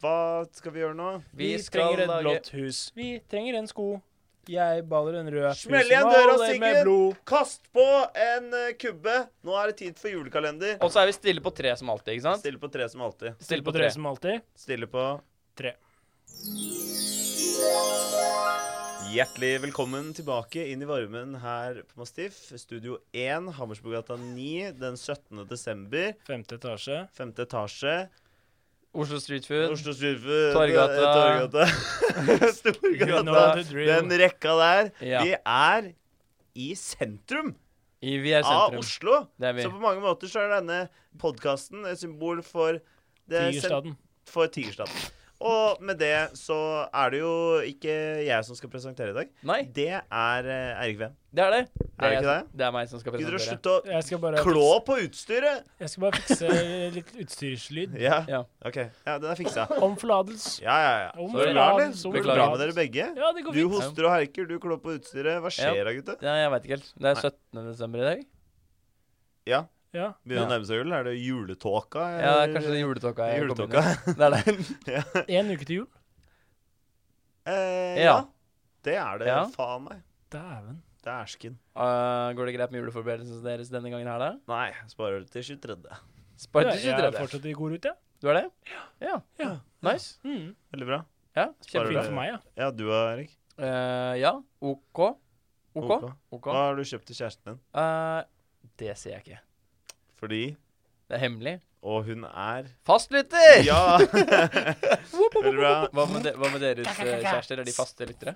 Hva skal vi gjøre nå? Vi, Vi skal trenger et lage blått hus. Vi trenger en sko. Jeg baler en rød. Smell Huset igjen døra, maler med Sigrid! blod. Kast på en eh, kubbe! Nå er det tid for julekalender. Og så er vi stille på tre som alltid, ikke sant? Stille på tre som alltid. Stille På tre som alltid. Stille på Tre. Hjertelig velkommen tilbake inn i varmen her på Mastiff. Studio 1, Hammersborggata 9, den 17. desember. Femte etasje. Femte etasje. Oslo Street Food. Oslo Surfe, Torggata. Torgata. You know Storgata. the drill. Den rekka der. Ja. Vi er i sentrum, I Vi er av Ah, sentrum. Oslo. Det er vi. Så på mange måter så er denne podkasten et symbol for det sen- Tigerstaden. For Tigerstaden. Og med det så er det jo ikke jeg som skal presentere i dag. Nei, Det er eh, Eirik Ven. det er det. Det Er det jeg ikke som- Det er meg som skal Gidder du å presentere. slutte å Jeg skal bare klå på utstyret? Jeg skal bare fikse litt utstyrslyd. Ja. Ja. OK. Ja, den er fiksa. Om forlatelse. Ja, ja, ja. Om Så bra, eller? forlatelse, Så om bra med forlatelse. dere begge. Ja, det går Du fint. hoster og herker, du klår på utstyret. Hva skjer da, gutta? Ja, jeg veit ikke helt. Det er Nei. 17. desember i dag. Ja, Ja. begynner å Ja. nærme seg jul. Er det juletåka? Ja, eller- kanskje det er juletåka. jeg kom inn Juletåka. i. Det er det. En uke til jul. eh, ja. Ja. Det er det. Ja. Faen meg. Dæven. Det er æsken. Uh, går det greit med juleforberedelsene deres denne gangen her, da? Nei, sparer det til 23. Spar Ja, til Jeg er 23. fortsatt i god rute, jeg. Du er det? Ja. Ja. Nice. Mm. Veldig bra. Ja, Sparer Fint det. kjempefint. for meg, ja. Ja, du og Erik. Eh, ja. OK. OK. OK. Hva har du kjøpt til kjæresten din? Eh, det sier jeg ikke. Fordi Det er hemmelig. Og hun er Fastlytter! Ja! Veldig bra. Hva med, de, hva med deres eh, kjærester? Er de faste lyttere?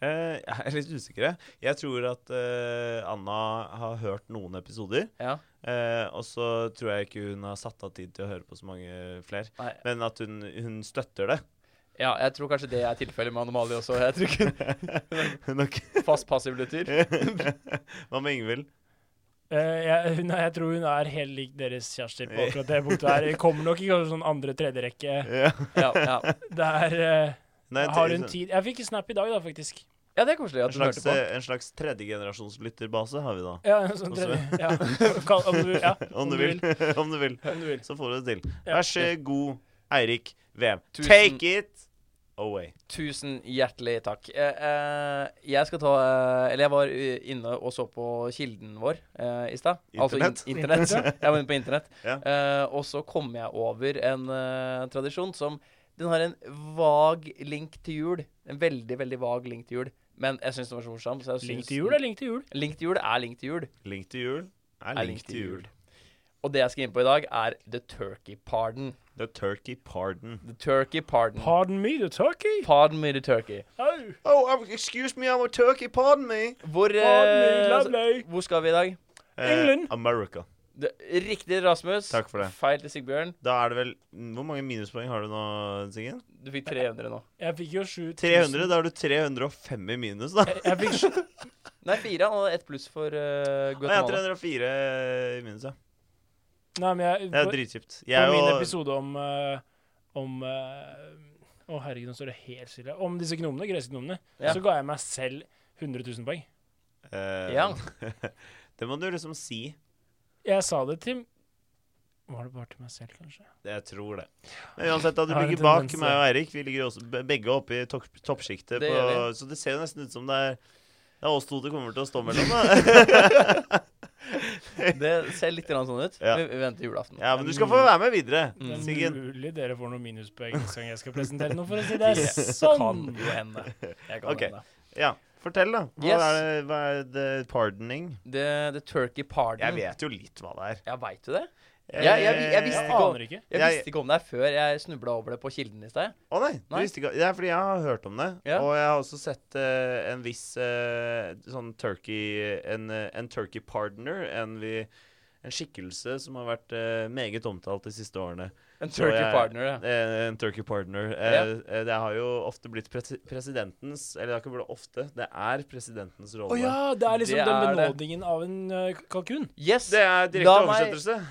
Eh, jeg er litt usikker. jeg. Jeg tror at eh, Anna har hørt noen episoder. Ja. Eh, og så tror jeg ikke hun har satt av tid til å høre på så mange flere. Nei. Men at hun, hun støtter det. Ja, jeg tror kanskje det er tilfellet med Anomalie også. Jeg tror ikke Hun har ikke Fast passiv lytter. Hva med Ingvild? Eh, jeg, hun, er- jeg tror hun er helt lik deres kjærester på akkurat det punktet her. Jeg Kommer nok i kanskje sånn andre-tredje rekke. Ja. Ja, ja. Det er Nei, sånn- eh, Har til- hun tid Jeg fikk en snap i dag, da, faktisk. ja, det er koselig En at hun slags, hørte på. eh, en slags tredjegenerasjonslytterbase har vi da. Ja, en sånn Og så- tredje. Ja. Kall- Om du, ja, Om du vil. Om du vil. Om du vil. Så får du det til. Ja. Vær så god, Eirik VM. Tusen- Take it away. Tusen hjertelig takk. Eh, eh, jeg skal ta eh, Eller jeg var eh, inne og så på kilden vår eh, i stad. Internett. in internett. jeg var inne på internett. Ja. Eh, og så kom jeg over en eh, tradisjon som Den har en vag link til jul. En veldig, veldig vag link til jul. Men jeg syns den var så morsom. Så jeg Link syns- til jul er link til jul. Link til jul er link til jul. Link til jul er link, til jul. Og det jeg skal inn på i dag, er The Turkey Pardon. The turkey pardon. The Turkey Pardon. Pardon me, the turkey. Pardon me the turkey. Au. Oh, um, excuse me, I'm a turkey, pardon me. Hvor, Pardon eh, me, altså, lovely. hvor skal vi i dag? Eh, England. America. Det, riktig, Rasmus. Takk for det. Feil til Sigbjørn. Da er det vel Hvor mange minuspoeng har du nå, Siggen? Du fikk 300 nå. Jeg fikk jo 7000. 300? Da har du 305 i minus, da. Jeg, jeg fikk sju- Nei, fire. Han hadde ett pluss for eh, Nei, jeg har Guatemala. 304 i minus, ja. Nei, men jeg Det er på- dritkjipt. På Jeg min og episode om eh, Om eh, Å, herregud, nå står det helt stille. Om disse gnomene, greske gnomene. Ja. Så ga jeg meg selv 100 000 poeng. Eh, Ja. det må du liksom si. Jeg sa det til Var det bare til meg selv, kanskje? Jeg tror det. Men uansett, da, du Jeg har en ligger bak tendens, meg ja. og Eirik. Vi ligger også, be- begge oppe i tok- toppsjiktet. Det på- gjør Så det ser jo nesten ut som det er det er oss to det kommer til å stå mellom. Da. Det ser litt grann sånn ut. Ja. Vi, vi venter julaften. ja, men du skal få være med videre. Mm. Det er Siggen. mulig dere får noen minuspoeng neste gang jeg skal presentere noe, for å si det Kan sånn. jo hende. Jeg kan Ok. hende. Ja, fortell, da. Hva Yes. er, det, hva er det pardoning? The, the Turkey Pardon. Jeg vet jo litt hva det er. Ja, veit du det? Jeg- jeg- jeg visste Jeg Eh, ikke- aner ikke. Jeg, Jeg- visste ikke om det her før jeg snubla over det på Kilden i sted. Å nei, du Nei. visste ikke Det er fordi jeg har hørt om det. Ja. Og jeg har også sett eh, en viss eh, sånn turkey En, eh, en turkey partner. En, vi, en skikkelse som har vært eh, meget omtalt de siste årene. En Så Turkey jeg- Partner, ja. Eh, en turkey partner. Eh, Ja. eh, det har jo ofte blitt presi presidentens Eller det er ikke bare ofte, det er presidentens Å rolle. ja, det er liksom Det den er det. benådningen av en eh, kalkun. Yes! Det er direkte La meg- oversettelse.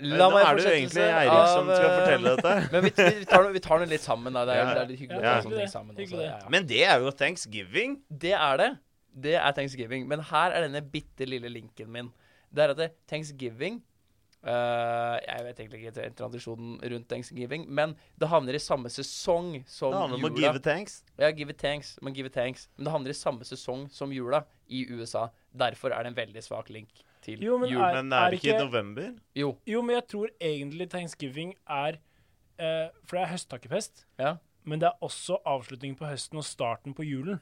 La Nå meg er det jo egentlig fortsettelse Eirik som av, skal eh, fortelle dette. Men vi, vi, tar noe, vi tar noe litt sammen, da. Det er, Ja. det er litt hyggelig å Ja, ta sånne hyggelig ting det. sammen. Hyggelig Også. det. Ja, ja. Men det er jo thanksgiving. Det er det. Det er thanksgiving. Men her er denne bitte lille linken min. Det er at det- thanksgiving Eh, jeg vet egentlig ikke helt tradisjonen rundt thanksgiving, men det havner i samme sesong som Det handler om å jula. give thanks. Ja, give it thanks, men give it thanks. Men det havner i samme sesong som jula i USA. Derfor er det en veldig svak link til Jo, men jul. er- Men er det ikke i ikke- november? Jo, Jo, men jeg tror egentlig thanksgiving er eh, For det er høsttakkefest, ja. men det er også avslutningen på høsten og starten på julen.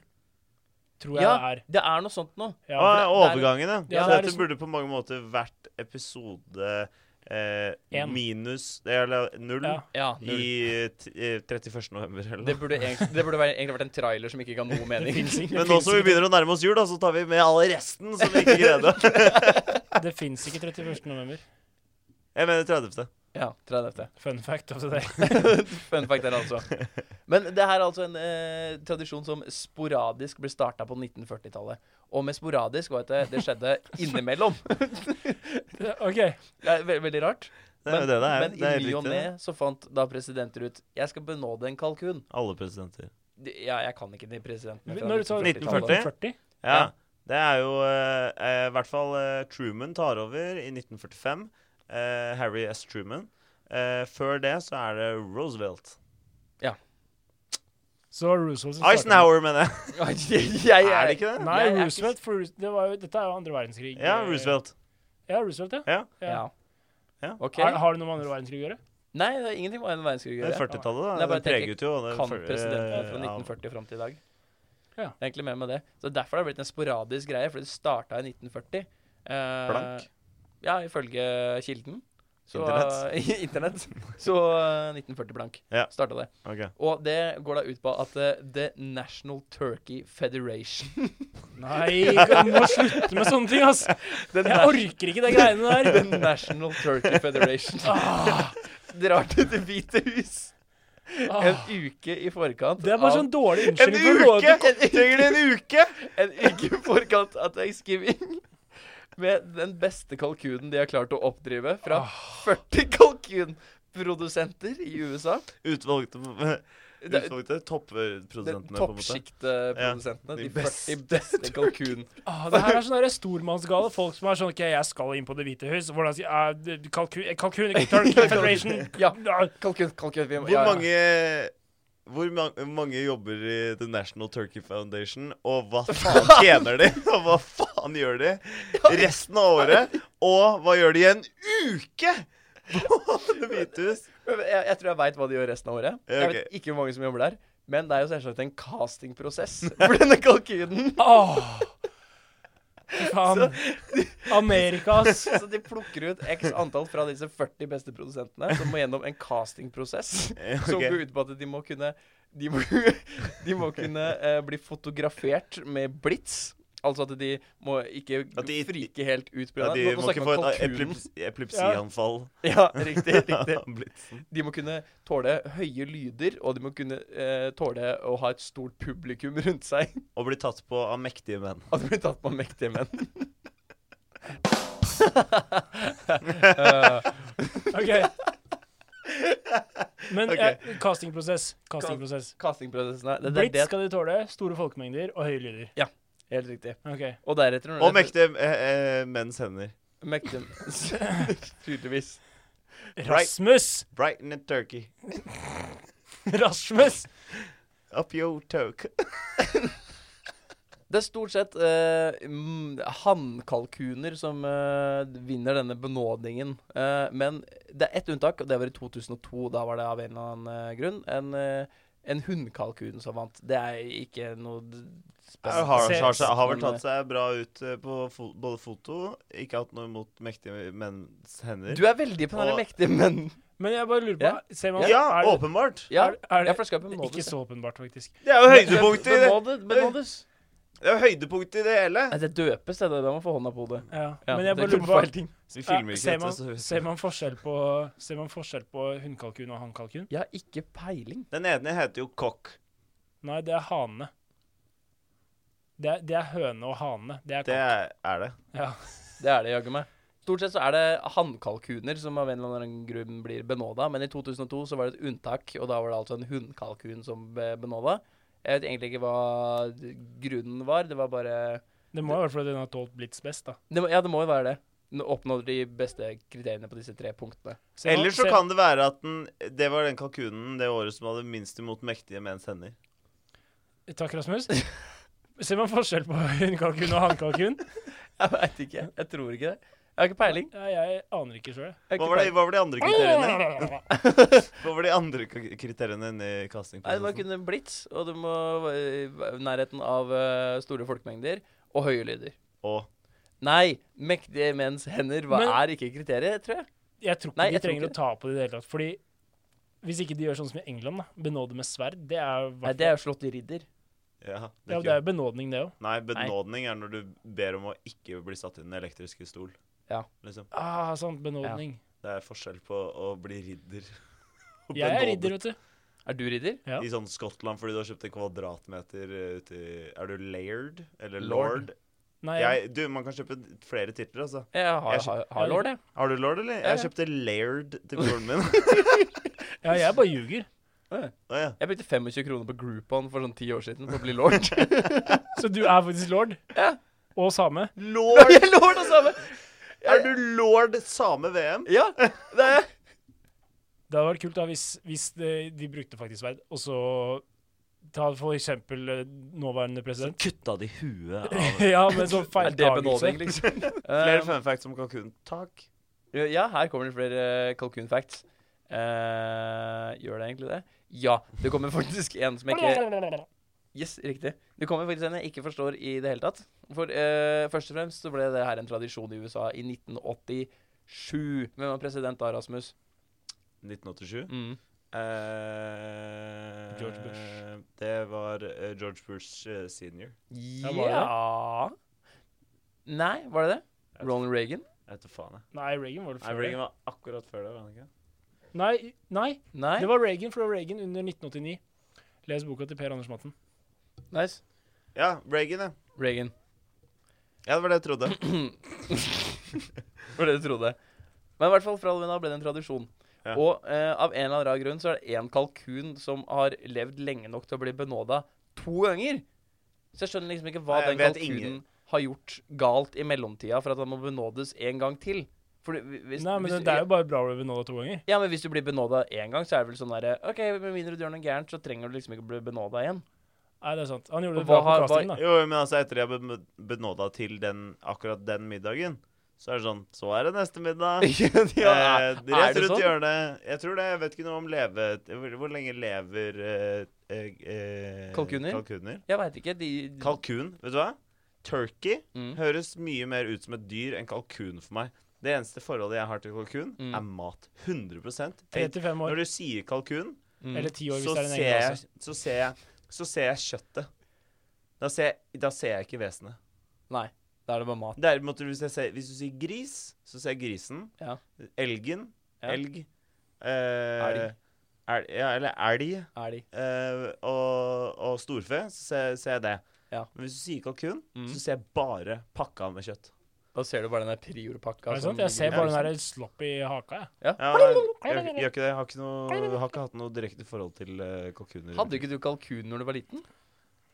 Tror jeg ja, det er. det er noe sånt noe. Ja, Ja, for det- det er- overgangen, ja. Ja, Så det er dette liksom- burde på mange måter vært episode eh, En. minus Eller null Ja. Ja, i t eh, 31. november, eller Det noe. burde, egentlig, det burde være- egentlig vært en trailer som ikke ga noe mening. Men nå som vi begynner å nærme oss jul, da, så tar vi med alle resten som vi ikke greide. det fins ikke 31. november. Jeg mener 30. Ja, 30. Fun fact of the day. Fun fact der, altså. Men det her er altså en eh, tradisjon som sporadisk ble starta på 1940-tallet. Og med sporadisk var det det skjedde innimellom. OK. Det er ve veldig rart. Det er jo det det er. men Det er i ny og helt riktig. ne så fant da presidenter ut Jeg skal benåde en kalkun. Alle presidenter. De- Ja, jeg kan ikke de presidentene. fra Når du sa 1940? 1940? Ja. Ja. Det er jo eh, eh, i hvert fall eh, Truman tar over i 1945. Eh, Harry S. Truman. Eh, før det så er det Roosevelt. Så Roosevelt som startet- Eisenhower, mener jeg. Jeg, Er det ikke det? Nei, Jeg er ikke- Roosevelt. For Roos- det var jo, dette er jo andre verdenskrig. Ja, eh, Roosevelt. Ja, Roosevelt, ja. Ja. Ja. Ja. Ok. Er, har det noe med andre verdenskrig å gjøre? Nei, det er ingenting med en verdenskrig å Det er gjøre. 40-tallet, da. eh, Nei, jeg bare Det preget jo det kan før- presidenten eh, fra ja. 1940 fram til i dag. Ja. Egentlig mer med det. Så Derfor har det blitt en sporadisk greie, fordi det starta i 1940. Eh, Blank. Ja, ifølge kilden. Så, Internett. Internett. Så eh, 1940 blank Ja. starta det. Ok. Og det går da ut på at eh, The National Turkey Federation Nei, du må slutte med sånne ting, ass! The, Jeg orker ikke Ah. de greiene der. The National Turkey Federation drar til Det hvite hus en Ah, uke i forkant Det er bare av- sånn dårlig En unnskyldning for å gå uke! ut Trenger de en uke? En uke i forkant av thanksgiving med den beste kalkunen de har klart å oppdrive fra 40 kalkunprodusenter i USA. Utvalgte, Det, utvalgte det toppprodusentene, på en måte. Toppsjiktprodusentene. de de beste 40 beste kalkun... Ah, det her er sånn der stormannsgale folk som er sånn OK, jeg skal inn på Det hvite hus. Hvordan sier ah, det- Kalkun Kalkun Turkey Federation Ja. Ah, Kalkun, kalkun vi må- Hvor ja, ja. mange hvor ma- mange jobber i The National Turkey Foundation, og hva faen tjener de? Og hva faen gjør de resten av året? Og hva gjør de i en uke på Det hvite hus? Jeg, jeg tror jeg veit hva de gjør resten av året. Ja, Jeg vet ikke hvor mange som jobber der. Men det er jo selvsagt en castingprosess for denne kalkunen. Åh. Ah. Fy faen. Amerika, ass. Så de plukker ut x antall fra disse 40 beste produsentene, som må gjennom en castingprosess. Eh, Som ok. går ut på at de må kunne De må, de må kunne eh, bli fotografert med blits. Altså at de må ikke At de- frike helt ut. på Ja, grunn av- de Nå- nå må snakker ikke man få et kalkunen. epileps epilepsianfall. Ja, riktig, riktig. av blitsen. De må kunne tåle høye lyder, og de må kunne eh, tåle å ha et stort publikum rundt seg. Og bli tatt på av mektige menn. At de blir tatt på av mektige menn. Eh, OK. Men Ok. eh, castingprosess. Castingprosess. Castingprosessen er det, det, Blitz er det, skal de tåle. Store folkemengder og høye lyder. Helt riktig. OK. Og deretter når Og det- mektige eh, eh, menns hender. Mektige Tydeligvis. Rasmus! Brighton and Turkey. Rasmus! Up your toke. Det er stort sett eh, mm, hannkalkuner som eh, vinner denne benådningen. Eh, men det er ett unntak, og det var i 2002. Da var det av en eller annen eh, grunn en, uh, en hunnkalkun som vant. Det er ikke noe d- Har, spennende. har, Se- har, har vel men, tatt seg bra ut eh, på fo både foto Ikke hatt noe imot mektige menns hender. Du er veldig på den Og- her mektige, men Men jeg bare lurer på Ja. Ser man ja, er, det, åpenbart! Ja, er, er jeg det får skape benådelse. ikke så åpenbart, faktisk. Det er jo høydepunktet i det, Benådet, benådes. det, er jo høydepunktet i det hele. Nei, det døpes, det. der. Da må man få hånda på hodet. Ja. Ja, Men jeg bare tenker lurer på på feil ting. Så vi Ja, filmer ikke ser, dette. man, Så vi ser, man forskjell på, ser man forskjell på hunnkalkun og hannkalkun? Jeg har ikke peiling. Den ene heter jo kokk. Nei, det er hanene. Det er, det er høne og hane. Det er Det kokk. er, er det. Ja. Det er det, jaggu meg. Stort sett så er det hannkalkuner som av en eller annen grunn blir benåda, men i 2002 så var det et unntak, og da var det altså en hunnkalkun som ble benåda. Jeg vet egentlig ikke hva grunnen var. Det var bare Det må i hvert fall den har tålt blits best, da. det må, Ja, det må jo være det. Nå Oppnådde de beste kriteriene på disse tre punktene. Se nå, Eller så se- kan det være at den, det var den kalkunen det året som hadde minst imot mektige menns hender. Takk, Rasmus. Ser man forskjell på hunnkalkun og hannkalkun? Jeg veit ikke. Jeg tror ikke det. Jeg har ikke peiling. Nei, jeg aner ikke sjøl. Hva Jeg har ikke var det, peiling. hva var de andre kriteriene? Kriteriene. Hva var de andre k- kriteriene inni Nei, det må castingprosessen? kunne blits, og det må eh, være i nærheten av eh, store folkemengder og høye lyder. Og Nei, mektige menns hender hva Men- er ikke kriteriet, tror jeg. Jeg tror ikke Nei, jeg de tror trenger ikke å ta på det i det hele tatt. Fordi hvis ikke de gjør sånn som i England, da. Benåde med sverd. Det er jo Nei, det er jo slått i ridder. ja, det ja, er det er ikke, jo benådning, det òg. nei, benådning er når du ber om å ikke bli satt i den elektriske stol. Ja. Liksom. Ah, sant. Benådning. Det er forskjell på å bli ridder og Jeg er benådet. ridder, vet du. Er du ridder? Ja. I sånn Skottland fordi du har kjøpt en kvadratmeter eh, ute i Er du laird? Eller Lord. lord? Nei, Jeg, du, man kan kjøpe flere titler, altså. Jeg har, Jeg skjø- har, har lord, jeg. Har du lord, eller? Ja, Jeg ja. kjøpte laird til broren min. ja, jeg bare ljuger. Å, ja. Jeg brukte 25 kroner på Groupon for sånn ti år siden for å bli lord. Så du er faktisk lord? Ja. Og same? Lord! Jeg er lord altså. og same! Er du lord same VM? Ja, det er jeg. Det hadde vært kult da hvis, hvis de, de brukte faktisk sverd, og så ta for eksempel eh, nåværende Så president. kutta de huet av ja, men sånn Er det benådning, feiltagelse. liksom? Flere Um, fun facts om kalkun. Takk. ja, her kommer det flere eh, kalkunfacts. Uh, gjør det egentlig det? Ja. Det kommer faktisk en som jeg ikke Yes, riktig. Det kommer faktisk en jeg ikke forstår i det hele tatt. For eh, først og fremst så ble det her en tradisjon i USA i 1987. Hvem var president da, Rasmus? 1987. Mm. Eh, George Bush. Det var eh, George Bush eh, senior. Ja var det det? Nei, var det det? Jeg vet- Ronald Reagan? Jeg vet da faen, jeg. Nei, Reagan var det Nei, før. Reagan var akkurat før det, var han ikke? det. Nei, nei, Nei? det var Reagan fra Reagan under 1989. Les boka til Per Anders Madsen. Nice. Ja, Reagan, ja. Reagan. Ja, det var det jeg trodde. Var det du trodde. Men i hvert fall fra og med da ble det en tradisjon. Ja. Og eh, av en eller annen rar grunn så er det én kalkun som har levd lenge nok til å bli benåda to ganger. Så jeg skjønner liksom ikke hva Nei, jeg den vet kalkunen ingen. har gjort galt i mellomtida for at han må benådes en gang til. For hvis, Nei, men hvis, det, det er jo bare bra å bli benåda to ganger. Ja, men hvis du blir benåda én gang, så er det vel sånn derre OK, med mindre du gjør noe gærent, så trenger du liksom ikke bli benåda igjen. Nei, det er sant. Han gjorde Og det bra hva på har- hva- casting, da. Jo, men altså, etter jeg ble benåda til den, akkurat den middagen, så er det sånn Så er det neste middag. ja, Eh, er, er rett det rundt sånn? hjørnet. Jeg tror det. Jeg vet ikke noe om leve... Hvor, hvor lenge lever eh, eh, eh, Kalkuner? kalkuner? Jeg veit ikke. De, Kalkun, vet du hva? Turkey Mm. høres mye mer ut som et dyr enn kalkun for meg. Det eneste forholdet jeg har til kalkun, Mm. er mat. 100 Tenk, 35 år. Når du sier kalkun, Mm. Eller 10 år, hvis så det er en ser, egen jeg, rase. så, ser jeg, så ser jeg kjøttet. Da ser jeg, da ser jeg ikke vesenet. Nei. Da er det bare mat. Derimot, hvis, jeg ser, hvis du sier gris, så ser jeg grisen. Ja. Elgen. Ja. Elg. Eh, Elg. el- ja, eller elg. Er de. Eh, og, og storfe, så ser, ser jeg det. Ja. Men hvis du sier kalkun, Mm. så ser jeg bare pakka med kjøtt. Da ser du bare den der Prior-pakka. Er det som sant? Sånn Jeg ser ligger bare der. den der slopp i haka, jeg. Ja, jeg, jeg, gjør ikke det. Jeg har ikke, noe, jeg har ikke hatt noe direkte forhold til eh, kalkuner. Hadde ikke du kalkun når du var liten?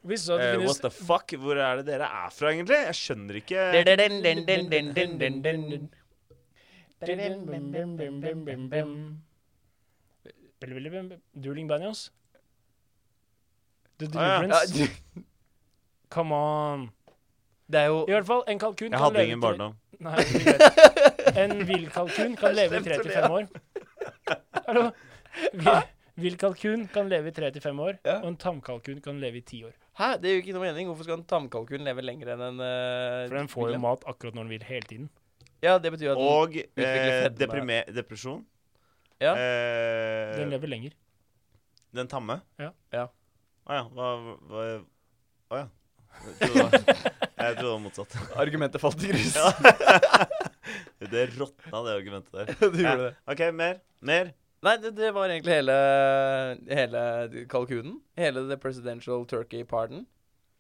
Visste du at Eh, det finnes what the fuck? Hvor er det dere er fra, egentlig? Jeg skjønner ikke Dueling Banyos? The Ah, ja. Ja, Deliverance? Come on. det er jo I hvert fall, en Jeg kalkun kan hadde leve ingen til- barndom. Nei, greit. en vill kalkun kan leve i Stemte tre til det, fem år. Hallo? Vi- Vill kalkun kan leve i tre til fem år, Ja. og en tamkalkun kan leve i ti år. Hæ, det gir jo ikke noe mening. Hvorfor skal en tamkalkun leve lenger enn en eh, For den får jo ville? mat akkurat når den vil, hele tiden. Ja, det betyr jo at den- Og eh, Utvikler fedme. deprime- depresjon. Ja. Eh, Den lever lenger. den tamme. Ja. Ja. Å ja. Hva, hva Å ja. Jeg trodde det var- jeg trodde det var motsatt. Argumentet falt i grus. Ja. Det råtna, det argumentet der. du gjorde det. OK, mer. Mer. Nei, det, det var egentlig hele, hele kalkunen. Hele The Presidential Turkey Pardon.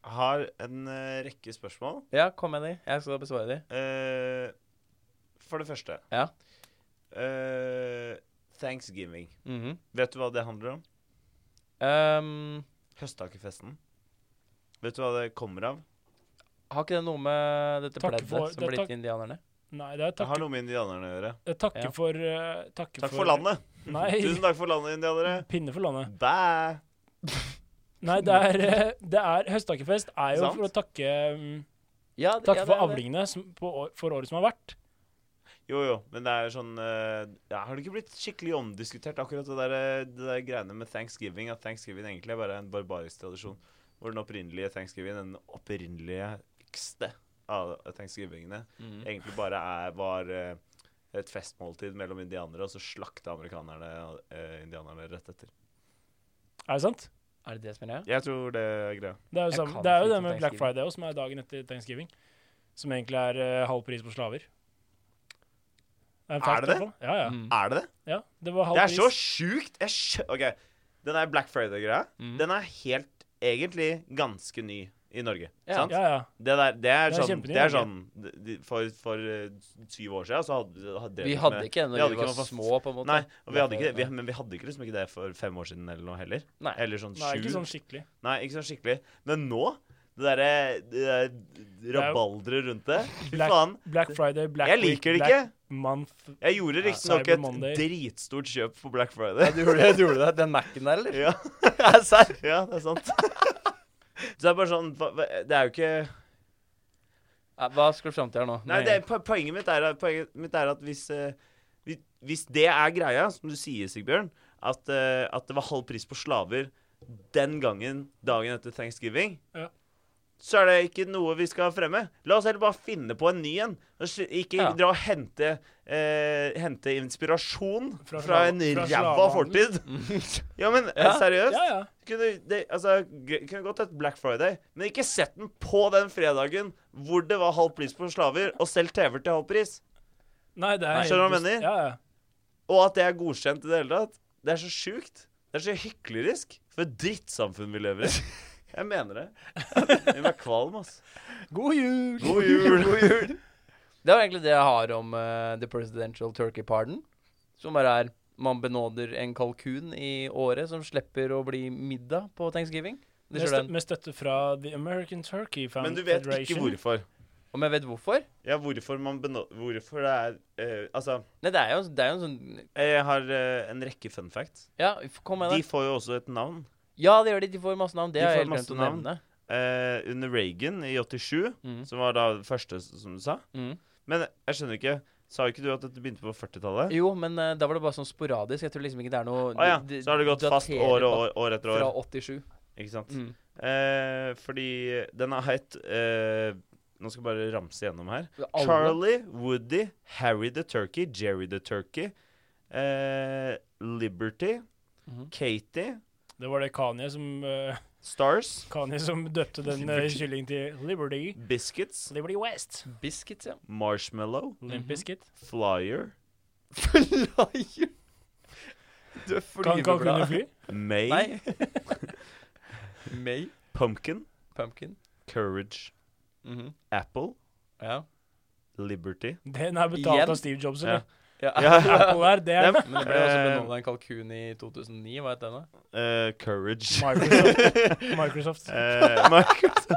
Har en eh, rekke spørsmål. Ja, kom med de. Jeg skal besvare de. Eh, for det første Ja. Eh, Thanksgiving. Mhm. Vet du hva det handler om? Ehm, Høsttakerfesten. Vet du hva det kommer av? har ikke det noe med dette Takk pleddet for- som det- ble takk- gitt til indianerne? Nei, det er Det har takke, noe med indianerne å gjøre. eh, takke Ja. for eh, takke Takk for landet. Nei. Tusen takk for landet, indianere. Pinne for landet. Bæ! Nei, det er, eh, det er Høsttakkefest er jo Sant. for å takke mm, Ja, det- Takke ja, det for er det. avlingene som, på, år- for året som har vært. Jo, jo, men det er sånn eh, ja, Har det ikke blitt skikkelig omdiskutert, akkurat det der, eh, det der greiene med thanksgiving? At thanksgiving egentlig er bare en barbarisk tradisjon. Hvor den opprinnelige thanksgiving, den opprinnelige ekste av thanksgivingene, Mhm. egentlig bare er, var eh, et festmåltid mellom indianere, og så slakta amerikanerne eh, indianerne rett etter. Er det sant? Er det det som er greia? Jeg tror det er greia. Det er jo, Jeg samme, kan det, er ikke jo det om med Black Thanksgiving. Friday også, som er dagen etter thanksgiving. Som egentlig er eh, halv pris på slaver. Det en Er fact, det det? i hvert fall. Ja, ja. Mm. Er det det? ja. Det var halv Det er pris. så sjukt! Jeg skjø... OK. Den der Black Friday-greia, Mm. den er helt egentlig ganske ny i Norge. Ja. sant? Ja, ja. Det, der, det er Det er sånn, kjempeny det er sånn Norge. de- de- For, for eh, syv år siden så hadde, hadde Vi hadde ikke det vi da hadde vi ikke var noe fast- små, på en måte. Nei, og vi hadde ikke, Derfor- vi, men vi hadde ikke liksom ikke det for fem år siden eller noe heller. Nei. Eller sånn Nei, sju. ikke sånn skikkelig. Nei, ikke sånn skikkelig. Men nå, det derre der, jo- rabalderet rundt det Fy Black- faen. Black Friday, Black Jeg Week, liker det Black ikke. Month. Jeg gjorde Ja, riktignok Cyber et Monday. dritstort kjøp på Black Friday. Du gjorde, du gjorde det? Den Mac-en der, eller? Ja, Serr? ja det er sant. Så det er bare sånn hva- hva- Det er jo ikke Ja, Hva skal du fram til her nå? Nei, det, er- po- poenget, mitt er, at- poenget mitt er at hvis, eh, hvis, hvis det er greia, som du sier, Sigbjørn, at, eh, at det var halv pris på slaver den gangen dagen etter thanksgiving, Ja. så er det ikke noe vi skal fremme. La oss heller bare finne på en ny en. Og sl- Ikke Ja. dra og hente, eh, hente inspirasjon fra, Fra slave- en fra ræva slavehandel. fortid. Ja, men eh, Ja. seriøst. Ja, ja. Kunne, det, altså, g- kunne godt hett Black Friday, men ikke sett den på den fredagen hvor det var halv pris på slaver, og selv TV-er til halv pris. Nei, det er Nei, skjønner du hva helt jeg mener? visst. Ja, ja. Og at det er godkjent i det hele tatt. Det er så sjukt. Det er så hyklerisk. For et drittsamfunn vi lever i. Jeg mener det. Jeg blir kvalm, ass. God jul! God jul. God jul. Det var egentlig det jeg har om eh, The Presidential Turkey Pardon. Som bare er man benåder en kalkun i året som slipper å bli middag på thanksgiving. Det Med, skjer stø den. med støtte fra The American Turkey Found Men du vet ikke Federation. hvorfor. Om jeg vet hvorfor? Ja, hvorfor man benå... Hvorfor det er eh, Altså, Nei, det er jo, det er jo en sånn jeg har eh, en rekke fun facts. Ja, f- kom med De det. får jo også et navn. Ja, det gjør de. De får masse navn. Det De har jeg får helt glemt masse å navn. nevne. Eh, under Reagan i 87, Mm. som var da det første, s- som du sa. Mm. Men jeg skjønner ikke Sa ikke du at dette begynte på 40-tallet? Jo, men eh, da var det bare sånn sporadisk. Jeg tror liksom ikke det er noe Å ja. de- de Så har det gått fast daterer år og på- år, år etter år. Fra 87. Ikke sant? Mm. Eh, fordi den har hett eh, Nå skal jeg bare ramse gjennom her. Alle- Charlie, Woody, Harry the Turkey, Jerry the Turkey, eh, Liberty, Mhm. Katie, Det var det Kanye som, eh, Stars, Kanye som døpte den eh, kyllingen til Liberty. Biscuits, Liberty West. Mhm. Biscuits, ja. Marshmallow, Limp Mhm. Bizkit. Flyer, Flyer! Du Kan kalkunen fly? May, Nei. May. Pumpkin, Pumpkin. Courage, Mhm. Apple, Ja. Liberty. Den er betalt Igjen? av Steve Jobs, Ja. eller? Ja. Apple er det. Nei, Men det ble også Eh, benåda en kalkun i 2009, hva het den da? eh, courage. Microsoft. Microsoft. Eh, Microsoft.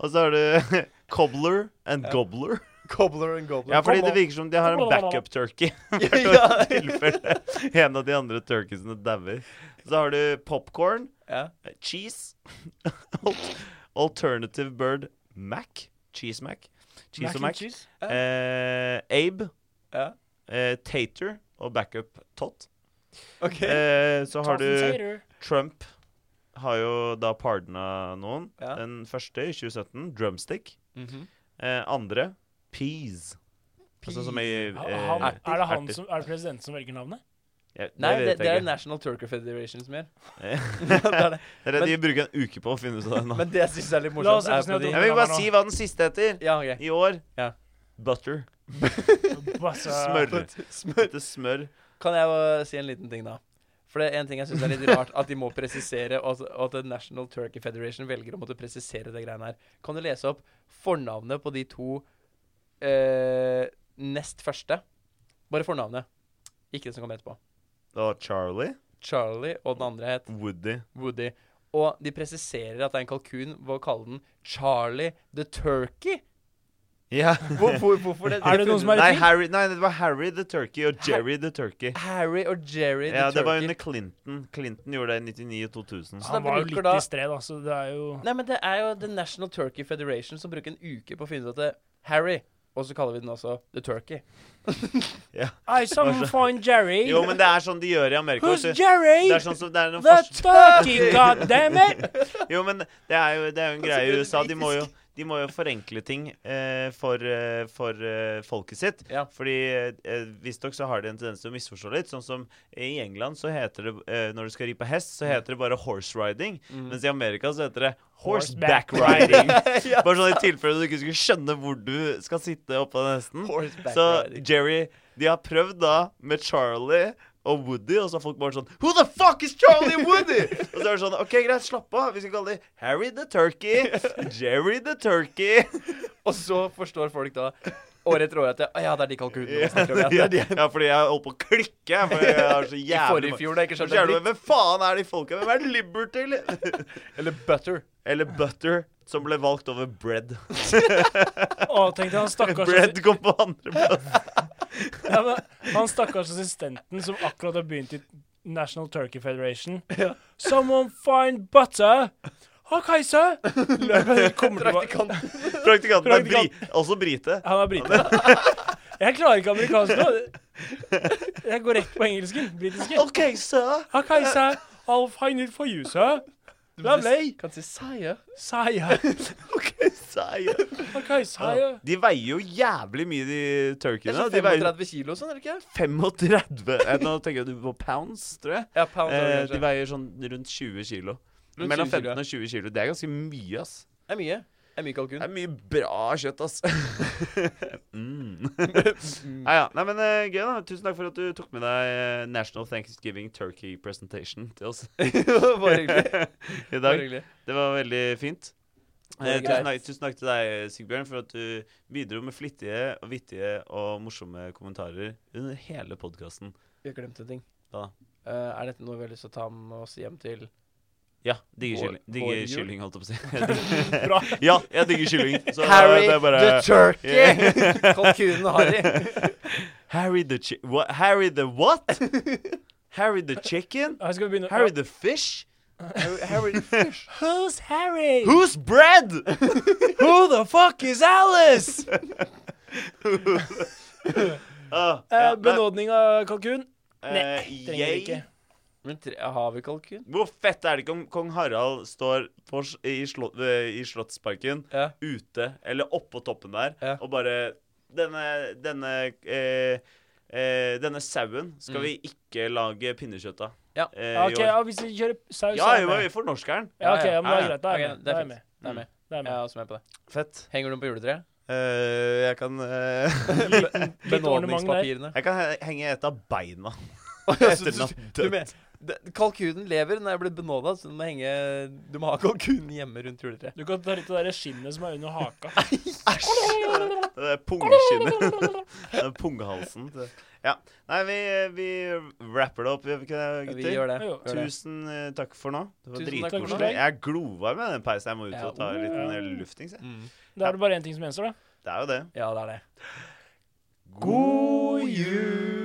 Og så har du Cobbler and Gobbler. Cobbler and Gobbler. Ja, fordi det virker som de har en backup turkey. I tilfelle en av de andre turkeysene dauer. Så har du popcorn, Ja. eh, cheese, alt- alternative bird mac, cheese mac, cheese og Mac and mac, cheese. eh, Abe, ja. eh, Tater og backup tot. Ok. Eh, så har Toss and du tater. Trump har jo da pardona noen. Ja. Den første i 2017, drumstick. Mhm. Eh, andre peas. Altså som i eh, Ha- han, er det han erter. som, er det presidenten som velger navnet? Jeg- det Nei, det, vet det er jeg ikke. National Turkey Federation som gjør. det det. er det de bruker en uke på å finne ut av det nå. Men det jeg syns er litt La oss morsomt, er sette oss ned fordi og- Jeg vil bare si hva den siste heter Ja, ok. i år. Ja. Butter. Basse- Smør. Smør. Smør. Kan jeg jo si en liten ting, da? For det er en ting jeg syns er litt rart, at de må presisere, og at- og at National Turkey Federation velger å måtte presisere det greiene her. Kan du lese opp fornavnet på de to eh, nest første? Bare fornavnet. Ikke det som kommer etterpå. Det var Charlie. Charlie, og den andre het Woody. Woody. Og de presiserer at det er en kalkun ved å kalle den Charlie the Turkey Ja. Hvor, hvor, hvorfor det? Er det noen som er i Nei, tvil? Harry, nei, det var Harry the Turkey og Jerry the Turkey. Harry og Jerry the Ja, det var Turkey. under Clinton. Clinton gjorde det i 99 og 2000. Så da Han var jo bruker litt da- i stred, da, så det er jo Nei, men det er jo The National Turkey Federation som bruker en uke på å finne ut at det Harry, og så kaller vi den også The Turkey. I someone find Jerry. Jo, men det er sånn de gjør i Amerika. Who's vet du. Jerry? Det er sånn som det er noen The fors- turkey, god damn it! Jo, men det er jo, det er jo en Altså, greie det i er USA. De må jo, typisk. de må jo forenkle ting eh, for, eh, for eh, folket sitt. Ja. Fordi eh, visstnok så har de en tendens til å misforstå litt. Sånn som i England så heter det eh, Når du skal ri på hest, så heter det bare horse riding. Mm. Mens i Amerika så heter det horseback Horseback riding. ja. Bare sånn i tilfelle du ikke skulle skjønne hvor du skal sitte oppå den hesten. Horseback Så riding. Jerry De har prøvd da med Charlie og Woody, og så har folk bare sånn Who the fuck is Charlie and Woody?! og så er det sånn OK, greit, slapp av. Vi skal kalle dem Harry the Turkey, Jerry the Turkey Og så forstår folk da år etter år at det, «Å ja, det er de kalkunene man snakker om. Ja. Ja, fordi jeg holdt på å klikke. jeg, For jeg har så I jævlig forrige fjor, da jeg ikke så skjønte en jævlig- Hvem faen er de folka? Hvem er Liberty? eller? dritt. Eller Butter. Eller Butter, som ble valgt over Bread. Å, tenkte han stakkars Bread kom på andreplass. ja, men Han stakkars assistenten som akkurat har begynt i National Turkey Federation. Someone find butter! Å, Kajsa! Løper- kommer tilbake- Praktikant. Praktikanten er bri Praktikant. også brite. Han er brite. Jeg klarer ikke amerikansk nå. Jeg går rett på engelsken. Britiske. OK, sir. Å, Kajsa! I'll find it for you, sir. Lovely. Kan si Saya. Saya. OK, sir. Å, Kajsa. ja. De veier jo jævlig mye, de Det er turkeyene. sånn De veier 35 kilo og sånn, er det ikke? 35 Eh, Nå tenker du på pounds, tror jeg. Ja, pound, Eh, kanskje. de veier sånn rundt 20 kilo. Rundt Mellom 20 kilo, 15 og 20 kilo. Det er ganske mye, ass. Det er mye. Det er mye kalkun. Det er mye bra kjøtt, ass. mm. Nei, ja. Nei, men eh, gøy, da. Tusen takk for at du tok med deg eh, National Thanksgiving Turkey Presentation til oss Bare hyggelig. i Bare dag. hyggelig. Det var veldig fint. Var Eh, det tusen, greit? takk, tusen takk til deg, Sigbjørn, for at du bidro med flittige, og vittige og morsomme kommentarer under hele podkasten. Vi har glemt en ting. Hva da? Eh, er dette noe vi har lyst til å ta med oss hjem til Ja, digger Vår- kylling, digger vår jul? kylling holdt jeg på å si. Jeg digger- ja, jeg digger kylling. Så eh, Harry det er bare the Turkey! Kalkunen Harry. Harry the chi what? Harry the what? Harry the chicken? Her skal vi begynne. Harry the fish? Harry Fish. Who's Harry? Who's bread? Who the fuck is Alice? Ah, Eh, ja, nei, benådning av kalkun? eh, trenger vi ikke. jeg Men tre, har vi kalkun? Hvor fett er det ikke om kong Harald står på, s- i, slott, eh, i Slottsparken Ja. ute, eller oppå toppen der, Ja. og bare Denne denne, eh, eh, denne sauen skal Mm. vi ikke lage pinnekjøtt av. Ja. eh, Ja, ok, i år. ja, Hvis vi kjører saus, ja så er jeg jo, med. vi fornorsker den. Ja, ok, ja, men da er Ja, ja. det greit. Da er jeg Ok, med. det Da er er jeg fint. med. Det er med. Da er jeg Jeg med. er også med på det. Fett. Henger du på juletreet? Eh, jeg kan eh, Litt ornament der. Benådningspapirene. Jeg kan he- henge et av beina Så etter du- den har du dødd. mener- det- Kalkunen lever når jeg blir benåda, så du må, henge, du må ha kalkunen hjemme rundt juletreet. Du kan ta litt av det der skinnet som er under haka. Det der pungeskinnet. Den pungehalsen. til- Ja. Nei, vi, vi wrapper det opp, gjør vi ikke det, Vi gutter? gjør det. Jo, Gjør det. Tusen eh, takk for nå. Det var Tusen takk for dritkoselig. deg. Jeg er glovarm med den peisen. Jeg må ut Ja, og ta en uh. liten eh, luftings. jeg. Mm. Da er det bare én ting som gjenstår, da. Det er jo det. Ja, det er det. God jul!